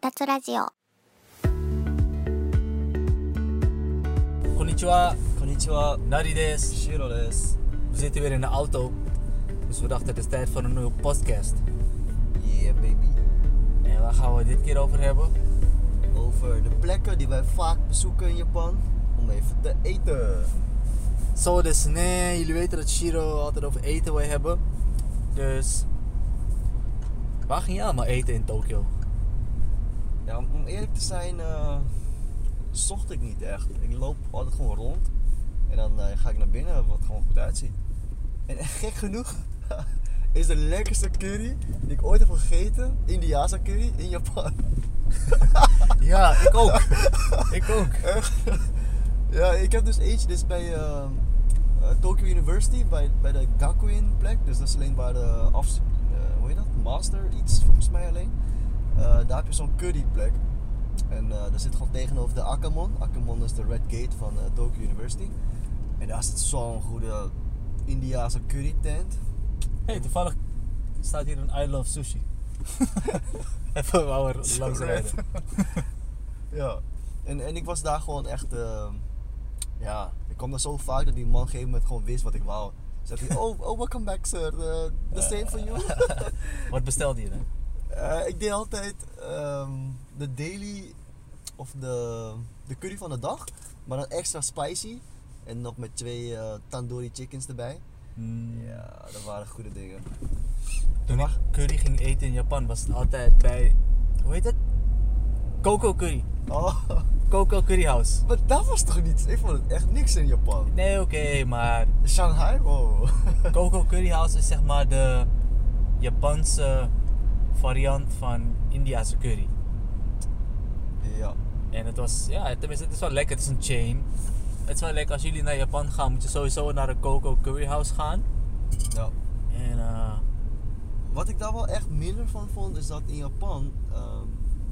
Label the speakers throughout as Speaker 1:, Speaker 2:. Speaker 1: たつラジオ
Speaker 2: こんにちは、
Speaker 3: こんにちは、
Speaker 2: ナリです。
Speaker 3: シロです。
Speaker 2: We zitten weer in de auto, dus we dachten het is tijd voor een nieuwe podcast.
Speaker 3: Yeah baby.
Speaker 2: En waar gaan we dit keer over hebben?
Speaker 3: Over de plekken die wij vaak bezoeken in Japan om even te eten.
Speaker 2: Zo dus, nee, jullie weten dat Shiro altijd over eten wij hebben. Dus, waar ging je allemaal eten in Tokio?
Speaker 3: Ja, om om eerlijk te zijn, eh, zocht ik niet echt. Ik loop altijd gewoon rond en dan eh, ga ik naar binnen wat gewoon goed uitziet. En gek genoeg is de lekkerste curry die ik ooit heb gegeten, Indiase curry, in Japan.
Speaker 2: Ja, ik ook. ik ook.
Speaker 3: Echt? Ja, ik heb dus eentje dus bij eh, eh, Tokyo University, bij, bij de Gakuin plek. Dus dat is alleen waar de af, eh, hoe heet dat? Master iets, volgens mij alleen. Eh, daar heb je zo'n curry plek. En eh, daar zit gewoon tegenover de Akamon. Akamon is de Red Gate van eh, Tokyo University. En daar zit zo'n goede Indiase curry tent.
Speaker 2: hey, toevallig staat hier een I Love Sushi. Even wou er langs
Speaker 3: Zo
Speaker 2: rijden.
Speaker 3: red. ja. En, en ik was daar gewoon echt... ehm, ja, ik kwam daar zo vaak dat die man op een gegeven moment gewoon wist wat ik wou. Zegt hij, oh, oh, welcome back sir, Eh, the same for you.
Speaker 2: Wat bestelde je dan?
Speaker 3: Eh, ik deed altijd ehm, de daily, of de, de curry van de dag, maar dan extra spicy. En nog met twee eh, tandoori chickens erbij.
Speaker 2: Mm.
Speaker 3: Ja, dat waren goede dingen.
Speaker 2: Toen ik
Speaker 3: Wacht.
Speaker 2: curry ging eten in Japan was het altijd bij, hoe heet het? Coco Curry.
Speaker 3: Oh,
Speaker 2: Coco Curry House.
Speaker 3: maar dat was toch niets? Ik vond het echt niks in Japan.
Speaker 2: Nee, oké, maar
Speaker 3: Shanghai, wow.
Speaker 2: Coco Curry House is zeg maar de Japanse variant van Indiase curry.
Speaker 3: ja.
Speaker 2: En het was, ja, tenminste, het is wel lekker. Het is een chain. Het is wel lekker als jullie naar Japan gaan, moet je sowieso naar een Coco Curry House gaan.
Speaker 3: Ja.
Speaker 2: En eh,
Speaker 3: Nou, Wat ik daar wel echt minder van vond, is dat in Japan, ehm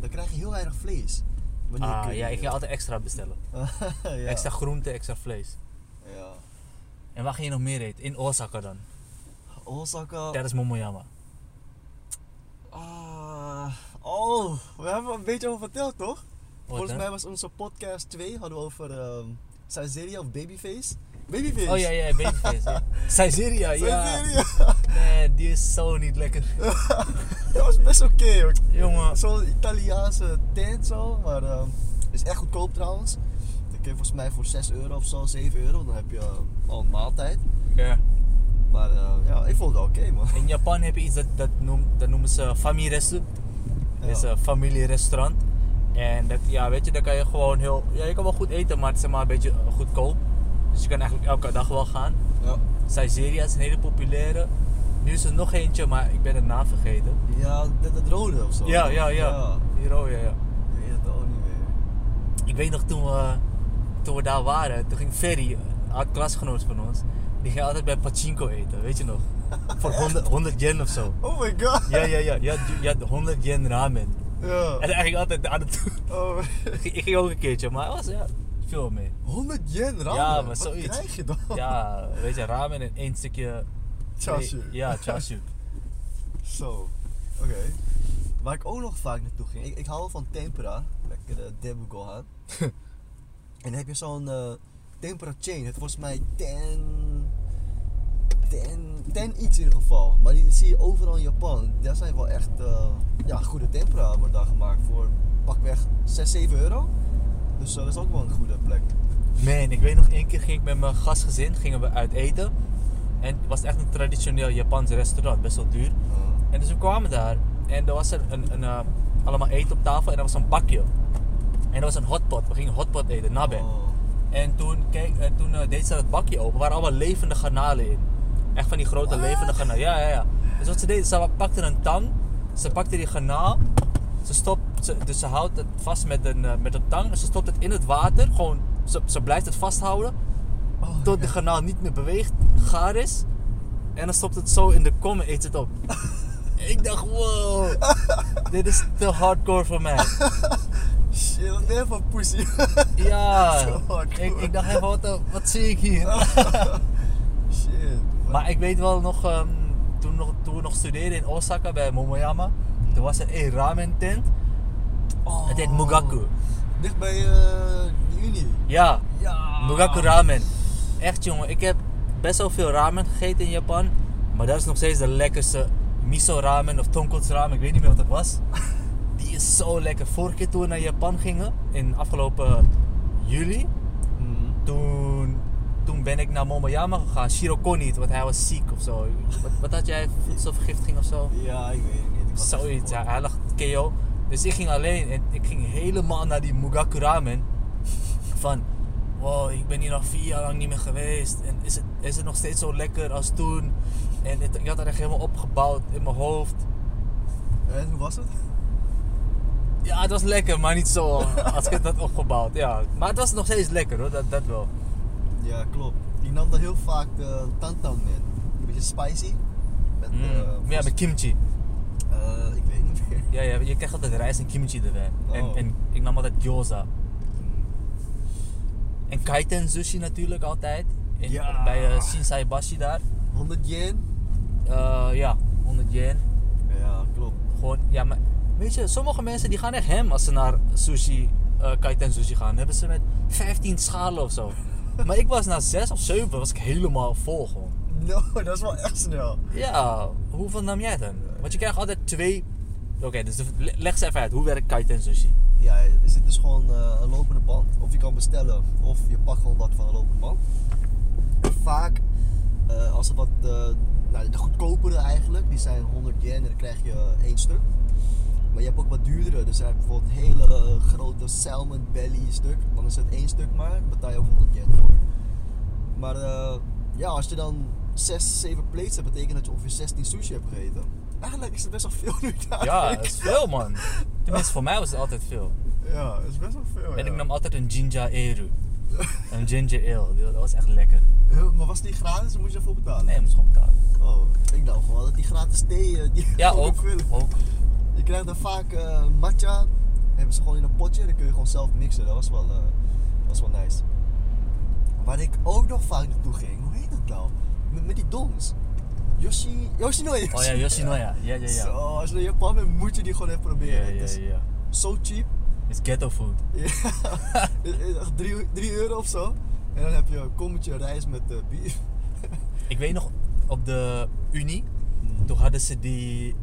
Speaker 3: dan krijg je heel weinig vlees. Wanneer
Speaker 2: ah,
Speaker 3: curry
Speaker 2: ja, ik
Speaker 3: eet.
Speaker 2: ging altijd extra bestellen.
Speaker 3: ja.
Speaker 2: Extra groente, extra vlees.
Speaker 3: Ja.
Speaker 2: En waar ging je nog meer eten? In Osaka dan.
Speaker 3: Osaka.
Speaker 2: Tijdens Momoyama.
Speaker 3: Ah, oh, we hebben er een beetje over verteld, toch? Volgens
Speaker 2: dan?
Speaker 3: mij was onze podcast 2, hadden we over ehm Caesarea of Babyface. Babyface!
Speaker 2: Oh ja, ja, babyface. ja. Caesarea, ja.
Speaker 3: Caesarea.
Speaker 2: Nee, die is zo niet lekker.
Speaker 3: Dat was best oké, hoor.
Speaker 2: Jongen.
Speaker 3: Zo'n Italiaanse tent zo, maar ehm, is echt goedkoop trouwens. Dat kun je volgens mij voor 6 euro of zo, 7 euro, dan heb je eh, al een maaltijd.
Speaker 2: Ja.
Speaker 3: Maar eh, ja, ik vond het wel oké man.
Speaker 2: In Japan heb je iets dat, dat, noem, dat noemen ze familieresten. Dat is
Speaker 3: Ja.
Speaker 2: een familierestaurant. En dat, ja, weet je, daar kan je gewoon heel... Ja, je kan wel goed eten, maar het is zeg maar een beetje eh, goedkoop. Dus je kan eigenlijk elke dag wel gaan.
Speaker 3: Ja.
Speaker 2: Caesarea is een hele populaire. Nu is er nog eentje, maar ik ben de naam vergeten.
Speaker 3: Ja, dat, dat rode of zo.
Speaker 2: Ja, ja, ja.
Speaker 3: Ja,
Speaker 2: Hier, oh, ja, ja.
Speaker 3: ik weet het ook niet meer.
Speaker 2: Ik weet nog toen we, toen we daar waren, toen ging Ferry, een oud klasgenoot van ons, die ging altijd bij Pachinko eten, weet je nog? Voor 100, 100 yen of zo.
Speaker 3: Oh my god.
Speaker 2: Ja, ja, ja. Je had, je had 100 yen ramen.
Speaker 3: Ja.
Speaker 2: En eigenlijk altijd aan het
Speaker 3: Oh.
Speaker 2: Ik ging ook een keertje, maar het was ja, veel mee.
Speaker 3: 100 yen ramen?
Speaker 2: Ja, maar
Speaker 3: Wat
Speaker 2: zoiets.
Speaker 3: krijg je dan?
Speaker 2: Ja, weet je, ramen en één stukje.
Speaker 3: Chashu.
Speaker 2: Nee, Ja, chashu.
Speaker 3: Zo. Oké. Waar ik ook nog vaak naartoe ging. Ik, ik hou wel van eh, tempura. Lekkere debugohan. en dan heb je zo'n eh, tempura chain. Het volgens mij ten... Ten, ten iets in ieder geval. Maar die zie je overal in Japan. Daar zijn wel echt eh, ja, goede tempura wordt daar gemaakt voor pakweg 6, 7 euro. Dus eh, dat is ook wel een goede plek.
Speaker 2: Man, ik weet nog één keer ging ik met mijn gastgezin gingen we uit eten. En het was echt een traditioneel Japans restaurant, best wel duur.
Speaker 3: Eh,
Speaker 2: En dus we kwamen daar en er was er een, een, eh, allemaal eten op tafel en er was een bakje. En er was een hotpot, we gingen hotpot eten, nabe.
Speaker 3: oh.
Speaker 2: En toen, keek, eh, toen eh, deed ze dat bakje open, er waren allemaal levende garnalen in. Echt van die grote
Speaker 3: What?
Speaker 2: levende garnalen. Ja, ja, ja. Dus wat ze deed, ze pakte een tang, ze pakte die garnaal, ze stopt, ze- dus ze houdt het vast met een, eh, met een tang en ze stopt het in het water. Gewoon, ze, ze blijft het vasthouden
Speaker 3: Oh,
Speaker 2: tot de garnaal niet meer beweegt, gaar is. En dan stopt het zo in de kom en eet het op. ik dacht, wow, dit is te hardcore voor mij.
Speaker 3: Shit, wat ben je voor pussy?
Speaker 2: Ja,
Speaker 3: Te hardcore.
Speaker 2: ik, ik dacht even, wat, de- wat zie ik hier?
Speaker 3: Shit.
Speaker 2: Maar ik weet wel nog, ehm, toen, nog, toen we nog studeerden in Osaka bij Momoyama, toen was er een ramen tent.
Speaker 3: Oh.
Speaker 2: Het heet Mugaku.
Speaker 3: Dicht bij eh, de Unie.
Speaker 2: Ja,
Speaker 3: Ja.
Speaker 2: Mugaku ramen. Echt jongen, ik heb best wel veel ramen gegeten in Japan. Maar dat is nog steeds de lekkerste miso ramen of tonkotsu ramen. Ik weet niet meer wat het was. Die is zo lekker. Vorige keer toen we naar Japan gingen, in afgelopen juli.
Speaker 3: Mhm.
Speaker 2: Toen, toen ben ik naar Momoyama gegaan. Shiroko niet, want hij was ziek of zo. Wat, wat had jij? Voedselvergiftiging of zo?
Speaker 3: Ja, ik weet het niet. Ik was dus
Speaker 2: Zoiets, ja,
Speaker 3: ervoor.
Speaker 2: hij lag KO. Dus ik ging alleen en ik ging helemaal naar die Mugaku ramen. Van, wow, ik ben hier nog vier jaar lang niet meer geweest. En is het, is het nog steeds zo lekker als toen? En het- ik had dat echt helemaal opgebouwd in mijn hoofd.
Speaker 3: En hoe was het?
Speaker 2: Ja, het was lekker, maar niet zo als ik het had opgebouwd. Ja. Maar het was nog steeds lekker hoor, dat, dat wel.
Speaker 3: Ja, klopt. Ik nam dan heel vaak de tantan met. Een beetje spicy. Met,
Speaker 2: Mm.
Speaker 3: eh,
Speaker 2: ja, met kimchi.
Speaker 3: eh, ik weet niet meer.
Speaker 2: Ja, ja, je krijgt altijd rijst en kimchi erbij. En,
Speaker 3: Oh.
Speaker 2: en ik nam altijd gyoza. En kaiten sushi natuurlijk altijd. In,
Speaker 3: Ja.
Speaker 2: Bij eh Shinsaibashi daar.
Speaker 3: 100 yen?
Speaker 2: Eh, ja, 100 yen.
Speaker 3: Ja, klopt.
Speaker 2: Gewoon, ja, maar weet je, sommige mensen die gaan echt hem als ze naar sushi, eh kaiten sushi gaan. Dan hebben ze met 15 schalen of zo. maar ik was na 6 of 7 was ik helemaal vol gewoon.
Speaker 3: No, dat is wel echt snel.
Speaker 2: Ja, hoeveel nam jij dan? Want je krijgt altijd twee. Oké, dus de- le- leg ze even uit. Hoe werkt kaiten sushi?
Speaker 3: Ja, is dit dus gewoon eh, een lopende band. Of je kan bestellen, of je pakt gewoon wat van een lopende band. En vaak, eh, als het wat, eh, nou, de goedkopere eigenlijk, die zijn 100 yen en dan krijg je één stuk. Maar je hebt ook wat duurdere, dus zijn bijvoorbeeld hele eh, grote salmon belly stuk. Dan is het één stuk maar, dan betaal je ook 100 yen voor. Maar eh, ja, als je dan 6, 7 plates hebt, betekent dat je ongeveer 16 sushi hebt gegeten. Eigenlijk is het best wel veel nu daar.
Speaker 2: Ja, dat is veel man. Tenminste, voor mij was het altijd veel.
Speaker 3: Ja, dat is best wel veel.
Speaker 2: En
Speaker 3: ja.
Speaker 2: ik nam altijd een ginger eru. Een ginger ale, dat was echt lekker.
Speaker 3: Huh, Maar was die gratis? Dan moest je ervoor betalen?
Speaker 2: Nee, moest gewoon betalen.
Speaker 3: Oh, ik dacht gewoon dat die gratis thee... eh, Die
Speaker 2: Ja,
Speaker 3: kon ik
Speaker 2: ook.
Speaker 3: willen.
Speaker 2: ook.
Speaker 3: Je krijgt dan vaak eh, matcha. Hebben ze gewoon in een potje. Dan kun je gewoon zelf mixen. Dat was wel, eh, was wel nice. Waar ik ook nog vaak naartoe ging. Hoe heet dat nou? Met, met die dongs. Yoshi... Yoshinoya.
Speaker 2: Oh ja, Yoshinoya. Ja, ja, ja.
Speaker 3: Zo, als je naar Japan bent, moet je die gewoon even
Speaker 2: Ja,
Speaker 3: proberen.
Speaker 2: ja,
Speaker 3: Het is
Speaker 2: ja.
Speaker 3: zo cheap.
Speaker 2: Het is ghetto food.
Speaker 3: Ja, 3 euro of zo. En dan heb je een kommetje rijst met eh, bier.
Speaker 2: Ik weet nog, op de Unie,
Speaker 3: Hmm.
Speaker 2: toen hadden ze die...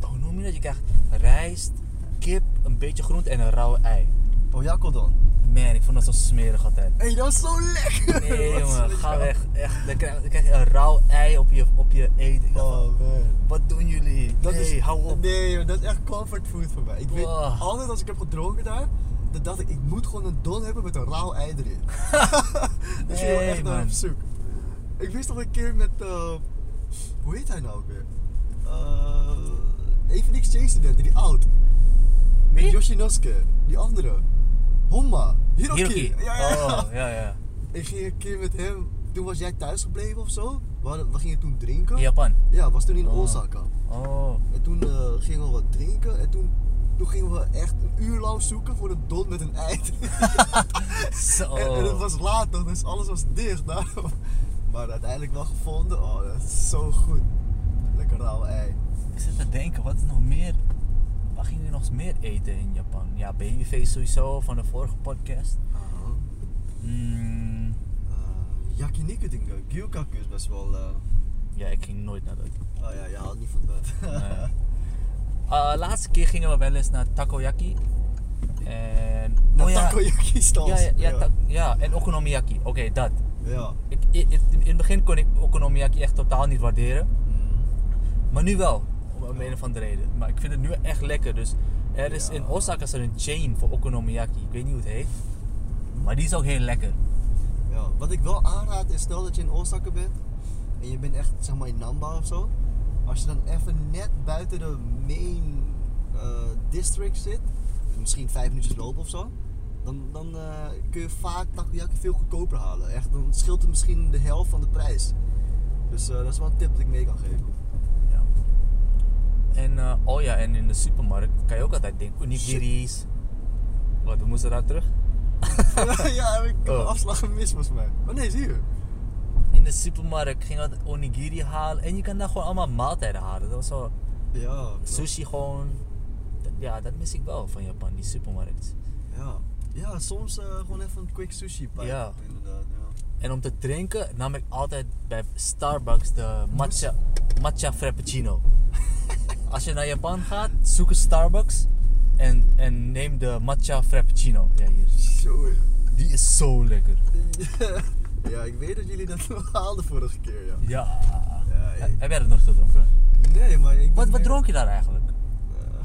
Speaker 2: Hoe noem je dat? Je krijgt rijst, kip, een beetje groente en een rauwe ei.
Speaker 3: Oh, Jacodon.
Speaker 2: Man, ik vond dat zo smerig altijd.
Speaker 3: Hé, dat is zo lekker!
Speaker 2: Nee
Speaker 3: Wat
Speaker 2: jongen,
Speaker 3: is
Speaker 2: ga
Speaker 3: dit?
Speaker 2: weg. Echt, dan krijg, dan krijg je een rauw ei op je, op je eten. Ik dacht van,
Speaker 3: Oh man.
Speaker 2: Wat doen jullie?
Speaker 3: Dat
Speaker 2: nee,
Speaker 3: is,
Speaker 2: hou op.
Speaker 3: Nee, joh, dat is echt comfort food voor mij. Ik weet
Speaker 2: Wow.
Speaker 3: altijd als ik heb gedronken daar, dan dacht ik, ik moet gewoon een don hebben met een rauw ei erin. dus je wil
Speaker 2: Nee,
Speaker 3: echt naar op
Speaker 2: man.
Speaker 3: zoek. Ik wist nog een keer met, eh, hoe heet hij nou ook weer? Eh, een van die exchange studenten, die oud. Met
Speaker 2: Wie?
Speaker 3: Yoshinosuke, die andere. Homma, Hiroki.
Speaker 2: Hiroki.
Speaker 3: Ja, ja, ja.
Speaker 2: Oh, ja, ja.
Speaker 3: Ik ging een keer met hem, toen was jij thuis gebleven of zo. We, hadden- we gingen toen drinken.
Speaker 2: In Japan.
Speaker 3: Ja, was toen in
Speaker 2: Oh.
Speaker 3: Osaka.
Speaker 2: Oh.
Speaker 3: En toen eh, gingen we wat drinken en toen, toen gingen we echt een uur lang zoeken voor een don met een ei.
Speaker 2: Zo.
Speaker 3: en, en het was laat nog, dus alles was dicht. daarom. Maar uiteindelijk wel gevonden. Oh, dat is zo goed. Lekker rauwe ei.
Speaker 2: Ik zit te denken, wat is nog meer? Waar gingen we nog eens meer eten in Japan? Ja, babyface sowieso van de vorige podcast. Mm,
Speaker 3: Eh, yakiniku ding, eh, gyukaku is best wel... eh,
Speaker 2: ja, ik ging nooit naar dat.
Speaker 3: oh ja, je houdt niet van dat.
Speaker 2: Nee. Eh, laatste keer gingen we wel eens naar takoyaki. En.
Speaker 3: Naar
Speaker 2: oh ja,
Speaker 3: takoyaki stalls.
Speaker 2: ja, ja, ja,
Speaker 3: ja.
Speaker 2: ta- ja, en okonomiyaki. Oké, dat.
Speaker 3: Ja.
Speaker 2: Ik, i- i- in het begin kon ik okonomiyaki echt totaal niet waarderen.
Speaker 3: Mm.
Speaker 2: Maar nu wel, om om een of andere reden. Maar ik vind het nu echt lekker. Dus er is
Speaker 3: Ja.
Speaker 2: in Osaka is er een chain voor okonomiyaki. Ik weet niet hoe het heet. Maar die is ook heel lekker.
Speaker 3: Ja, wat ik wel aanraad is, stel dat je in Osaka bent en je bent echt zeg maar in Namba of zo. Als je dan even net buiten de main eh, district zit, misschien vijf minuutjes lopen of zo, dan, dan eh, kun je vaak takoyaki veel goedkoper halen. Echt, dan scheelt het misschien de helft van de prijs. Dus eh, dat is wel een tip dat ik mee kan geven.
Speaker 2: Ja. En eh, oh ja, en in de supermarkt kan je ook altijd denken, onigiri's. Wat, we moesten daar terug?
Speaker 3: ja, heb ik heb
Speaker 2: Oh.
Speaker 3: een afslag gemist volgens mij. Oh nee, zie je.
Speaker 2: In de supermarkt ging ik altijd onigiri halen. En je kan daar gewoon allemaal maaltijden halen. Dat was zo,
Speaker 3: Ja, klopt.
Speaker 2: sushi gewoon. Dat ja, dat mis ik wel van Japan, die supermarkt.
Speaker 3: Ja. Ja, soms eh, gewoon even een quick sushi bij.
Speaker 2: Ja.
Speaker 3: Inderdaad, ja.
Speaker 2: En om te drinken nam ik altijd bij Starbucks de matcha, matcha frappuccino. Als je naar Japan gaat, zoek een Starbucks en, en neem de matcha frappuccino. Ja, hier.
Speaker 3: Zo.
Speaker 2: Die is zo lekker.
Speaker 3: ja, ik weet dat jullie dat haalden vorige keer, ja.
Speaker 2: Ja.
Speaker 3: Ja, ik-
Speaker 2: Heb jij dat nog gedronken?
Speaker 3: Nee, maar ik...
Speaker 2: Wat,
Speaker 3: ben-
Speaker 2: wat dronk je daar eigenlijk?
Speaker 3: Eh,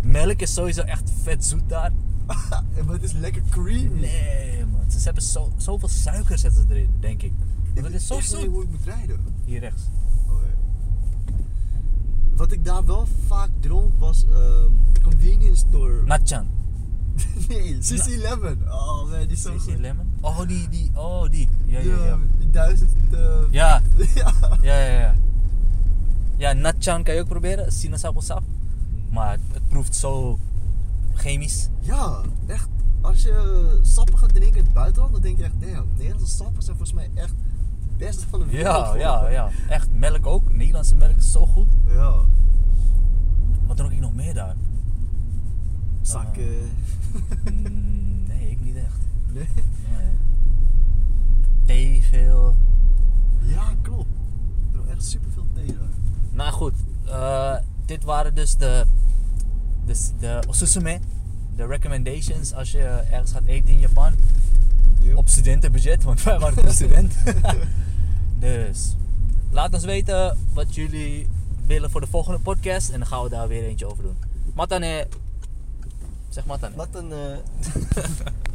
Speaker 2: Melk is sowieso echt vet zoet daar.
Speaker 3: maar het is lekker creamy.
Speaker 2: Nee man, ze hebben zo, zoveel suiker zetten ze erin, denk ik.
Speaker 3: Ik
Speaker 2: Want het
Speaker 3: weet
Speaker 2: is zo
Speaker 3: echt niet
Speaker 2: zoet.
Speaker 3: hoe ik moet rijden.
Speaker 2: Hier rechts.
Speaker 3: Oké. Wat ik daar wel vaak dronk was ehm, convenience store.
Speaker 2: Natchan.
Speaker 3: nee, Sissy Lemon. Oh man, die is zo
Speaker 2: Is
Speaker 3: goed.
Speaker 2: lemon? Oh die, die, oh die. Ja, ja, ja.
Speaker 3: die duizend... eh,
Speaker 2: Ja,
Speaker 3: ja.
Speaker 2: ja, ja. Ja, ja natchan kan je ook proberen, sinaasappelsap. Maar het, het proeft zo chemisch.
Speaker 3: Ja, echt. Als je sappen gaat drinken in het buitenland, dan denk je echt, damn, Nederlandse sappen zijn volgens mij echt het beste van de wereld.
Speaker 2: Ja,
Speaker 3: gewoon.
Speaker 2: ja, Ah. ja. Echt, melk ook. Nederlandse melk is zo goed.
Speaker 3: Ja.
Speaker 2: Wat dronk ik nog meer daar?
Speaker 3: Zakken.
Speaker 2: Mm, nee, ik niet echt.
Speaker 3: nee.
Speaker 2: Nee. Thee veel.
Speaker 3: Ja, klopt. Ik dronk echt superveel thee daar.
Speaker 2: Nou goed, eh, dit waren dus de, de, de osusume, de recommendations als je ergens gaat eten in Japan. Op studentenbudget, want wij waren toen student. dus laat ons weten wat jullie willen voor de volgende podcast en dan gaan we daar weer eentje over doen. Matane, zeg matane.
Speaker 3: Wat een... eh,